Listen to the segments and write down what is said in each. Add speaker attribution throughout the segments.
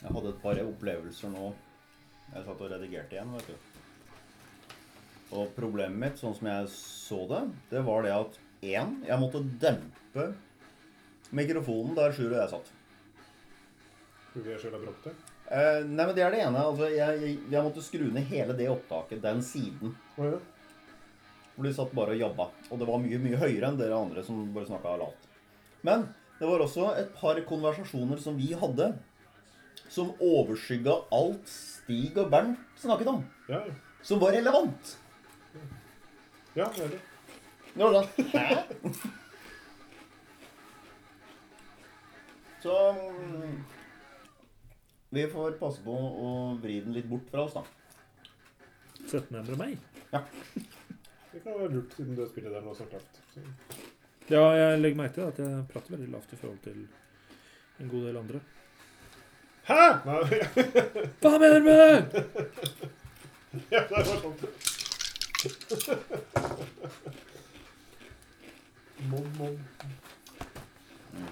Speaker 1: Jeg hadde et par opplevelser nå. Jeg satt og redigerte igjen, vet du. Og problemet mitt, sånn som jeg så det, det var det at én, jeg måtte dempe mikrofonen der Sjur og jeg satt.
Speaker 2: Tror vi er sjøl brått til.
Speaker 1: Eh, nei, men det er det ene. Altså, jeg, jeg, jeg måtte skru ned hele det opptaket, den siden.
Speaker 2: Å ja.
Speaker 1: Hvor de satt bare og jabba. Og det var mye, mye høyere enn dere andre som bare snakka lavt. Men det var også et par konversasjoner som vi hadde, som overskygga alt Stig og Bernt snakket om.
Speaker 2: Ja, ja.
Speaker 1: Som var relevant.
Speaker 2: ja det er det.
Speaker 1: Det var sånn Hæ? Så mm, Vi får passe på å vri den litt bort fra oss, da.
Speaker 3: 1700 meg.
Speaker 2: Det kan være lurt siden du har spilt der nå så klart. Så.
Speaker 3: Ja, jeg legger merke til at jeg prater veldig lavt i forhold til en god del andre.
Speaker 2: Hæ?! Nei,
Speaker 3: Hva mener du med det?!
Speaker 2: ja, det var sånn. Mobb, mobb.
Speaker 1: Men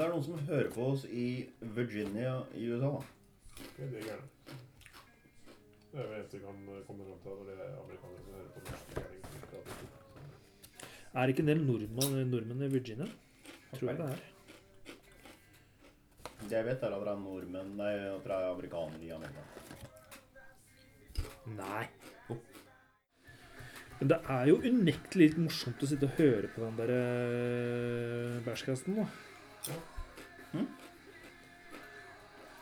Speaker 1: det er noen som hører på oss i Virginia i USA, da.
Speaker 2: Det er det gærne. Det er det eneste vi kan eh, komme fram til, og det er amerikanere som hører på norsk gærning. som prater.
Speaker 3: Er ikke en del nordmann, nordmenn i Virginia? Tror jeg det er.
Speaker 1: Det jeg vet, er at det er nordmenn Nei, at det er amerikanere i Amerika.
Speaker 3: Nei. Men det er jo unektelig litt morsomt å sitte og høre på den der eh, bæsjkasten, da. Hm?
Speaker 1: Mm.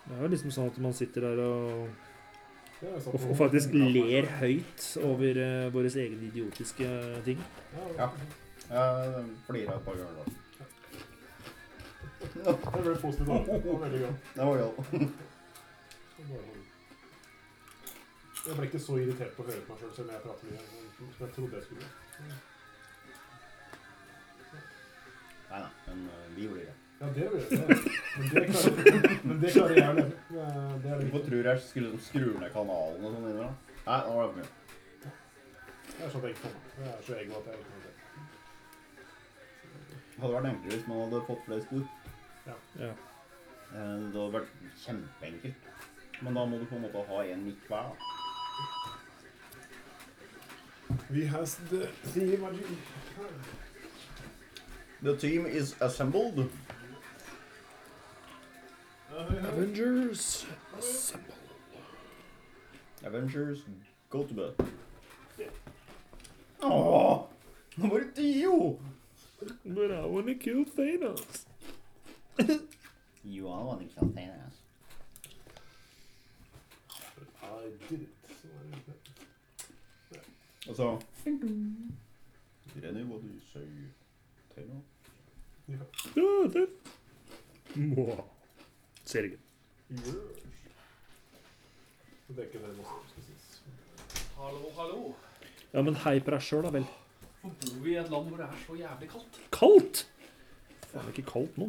Speaker 3: Det er jo liksom sånn at man sitter der og,
Speaker 2: Ja, jeg satt
Speaker 3: og,
Speaker 2: på-
Speaker 3: og faktisk ler høyt over uh, våre egne idiotiske ting.
Speaker 2: Ja, det
Speaker 1: Ja.
Speaker 2: var-
Speaker 1: Jeg flirer et par ganger da.
Speaker 2: Jeg ble positiv av det. Det var Veldig glad.
Speaker 1: Det var gøy.
Speaker 2: Det var sånn. Jeg ble ikke så irritert på å høre på meg sjøl selv om jeg prater mye, som som jeg trodde jeg skulle.
Speaker 1: Nei, nei, men eh, vi blir det.
Speaker 2: Ja, det vil jeg. det- Men det klarer, men det klarer jeg å leve med. Det er det
Speaker 1: Hvorfor
Speaker 2: viktige.
Speaker 1: tror jeg skulle liksom skru ned kanalen og sånn inni da? Nei, nå var det for mye.
Speaker 2: Det er sånn jeg ikke kan. Det er så ego at jeg ikke kan det.
Speaker 1: Det hadde vært enklere hvis man hadde fått flere spor.
Speaker 3: Ja.
Speaker 1: Eh, Det hadde vært kjempeenkelt. Men da må du på en måte ha en midt hver. da.
Speaker 2: We has the sea magic.
Speaker 1: The team is assembled.
Speaker 3: Avengers Assemble.
Speaker 1: Avengers, go to bed. Åh, nå var det Dio!
Speaker 3: But I wanna kill Thanos.
Speaker 1: You are one of the containers.
Speaker 2: I did it. Så var det det.
Speaker 1: Og så Grenny, hva du sier til nå?
Speaker 2: Ja.
Speaker 3: Ja, det Må. Ser ikke.
Speaker 2: Yes. Og Det er ikke det man skal sies.
Speaker 4: Hallo, hallo.
Speaker 3: Ja, men hei på deg sjøl, da vel.
Speaker 4: Nå bor vi i et land hvor det er så jævlig kaldt.
Speaker 3: Kaldt! Det er ikke kaldt nå.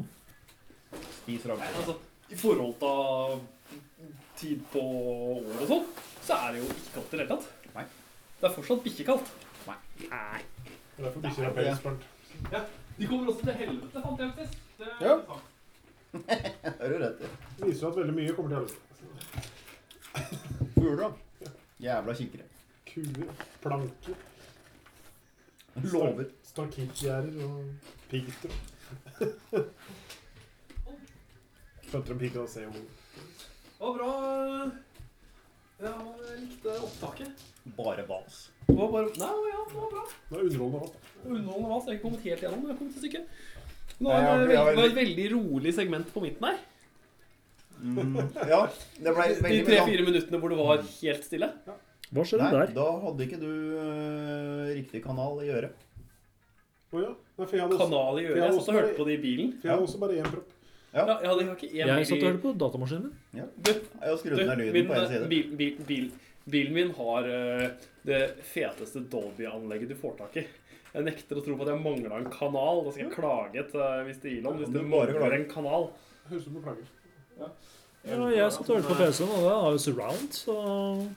Speaker 1: Spis
Speaker 4: Nei,
Speaker 1: rampe.
Speaker 4: altså, I forhold til mm, tid på året og sånn, så er det jo ikke kaldt i det hele tatt.
Speaker 1: Nei.
Speaker 4: Det er fortsatt bikkjekaldt.
Speaker 3: Nei.
Speaker 2: Det er derfor bikkjer er
Speaker 1: Nei, det-
Speaker 2: pelsbart.
Speaker 4: De kommer også til helvete, fant jeg ut sist. Det er
Speaker 1: Ja.
Speaker 4: interessant.
Speaker 1: Er du rett i?
Speaker 2: Det viser jo at veldig mye kommer til helvete.
Speaker 1: Fugler, da. Jævla kikkere.
Speaker 2: Kuer, planker,
Speaker 1: Lover.
Speaker 2: stakkittgjerder og piggtråd. Skjønte de piggtråd og se hvor
Speaker 4: Det var bra. Ja, jeg likte opptaket.
Speaker 1: Bare vas.
Speaker 4: Det var bare Nei, ja, det var bra.
Speaker 2: Det er underholdende alt.
Speaker 4: Underholdende vas. Jeg har ikke kommet helt gjennom, men jeg har kommet et stykke. Det
Speaker 1: Nei,
Speaker 4: var,
Speaker 1: jeg-
Speaker 4: en,
Speaker 1: jeg-
Speaker 4: det var et veldig rolig segment på midten her.
Speaker 1: Mm. Ja, det ble
Speaker 4: De
Speaker 1: veldig mye sånn.
Speaker 4: tre-fire minuttene hvor det var helt stille.
Speaker 3: Hva skjedde
Speaker 1: Nei,
Speaker 3: der?
Speaker 1: da hadde ikke du øh, riktig kanal i øret.
Speaker 2: Å ja. Nei, for jeg hadde også,
Speaker 4: Kanal
Speaker 2: For
Speaker 4: i
Speaker 2: jeg
Speaker 4: øret. Jeg
Speaker 2: har
Speaker 4: satt
Speaker 2: også
Speaker 4: og hørte
Speaker 2: bare-
Speaker 4: på det i bilen.
Speaker 2: for jeg hadde også bare én propp.
Speaker 4: Ja, jeg hadde ikke én
Speaker 3: Jeg satt og
Speaker 4: bil
Speaker 3: hørte på datamaskinen min.
Speaker 4: Du,
Speaker 1: Jeg har skrudd
Speaker 4: Du,
Speaker 1: ned lyden
Speaker 4: min,
Speaker 1: på én side.
Speaker 4: bil, bil, bil, bilen min har eh, det feteste Dolby-anlegget du får tak i. Jeg nekter å tro på at jeg mangla en kanal. Da skal jeg klage til eh, Mr. Elon hvis
Speaker 1: Du
Speaker 4: det
Speaker 1: bare
Speaker 4: mangler
Speaker 1: klager.
Speaker 4: en kanal.
Speaker 2: Høres ut som du plager.
Speaker 3: Ja, jeg satt og hørte på PC-en, og det har jo surround, så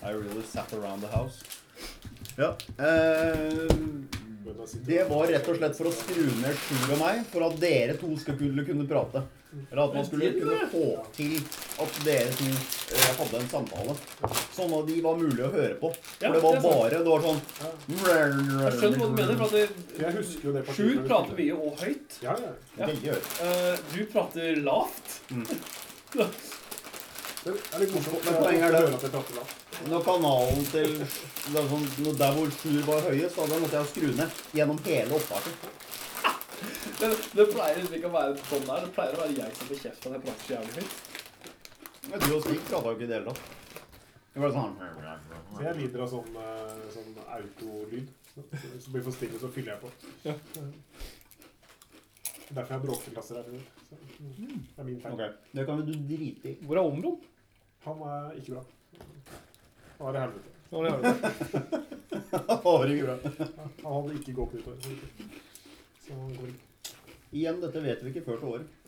Speaker 1: I really sat around the house. Ja. Eh,
Speaker 2: bøndene sitter
Speaker 1: Det var rett og slett for å skru ned Sjur og meg, for at dere to skulle kunne prate. Eller at man skulle kunne
Speaker 4: eh.
Speaker 1: få til at dere to eh, hadde en samtale. Sånn at de var mulig å høre på.
Speaker 4: Ja,
Speaker 1: For det var
Speaker 4: det er sant.
Speaker 1: bare Det var sånn
Speaker 4: Jeg skjønner hva du mener. for at
Speaker 2: Jeg husker jo det
Speaker 4: det- Sjur prater mye og høyt.
Speaker 2: Ja, ja.
Speaker 1: Veldig høyt.
Speaker 4: Eh, Du prater lavt.
Speaker 2: Det er litt morsomt.
Speaker 1: Men poenget er det-
Speaker 2: Hører at jeg prater lavt.
Speaker 1: Når kanalen til det er sånn, når Der hvor Sjur var høyest, da da måtte jeg skru ned gjennom hele opptaket.
Speaker 4: Det, det pleier liksom ikke å være sånn der. Det pleier å være jeg som får kjeft når jeg prater så jævlig høyt.
Speaker 1: Men Du og Stig prata jo ikke i det hele tatt. Det var sånn
Speaker 2: Så jeg lider av sånn, eh, sånn autolyd. Så Hvis det blir for stille, så fyller jeg på. Derfor jeg har bråkeglasser her. Så, mm, Det er min feil.
Speaker 1: Ok, Det kan jo du drite i.
Speaker 4: Hvor er Omron?
Speaker 2: Han er ikke bra. Han er i helvete.
Speaker 4: Nå har jeg hørt det.
Speaker 1: Harry Grønn.
Speaker 2: Han hadde ikke gått nyttår. Så han går ikke.
Speaker 1: Igjen, dette vet vi ikke før til året.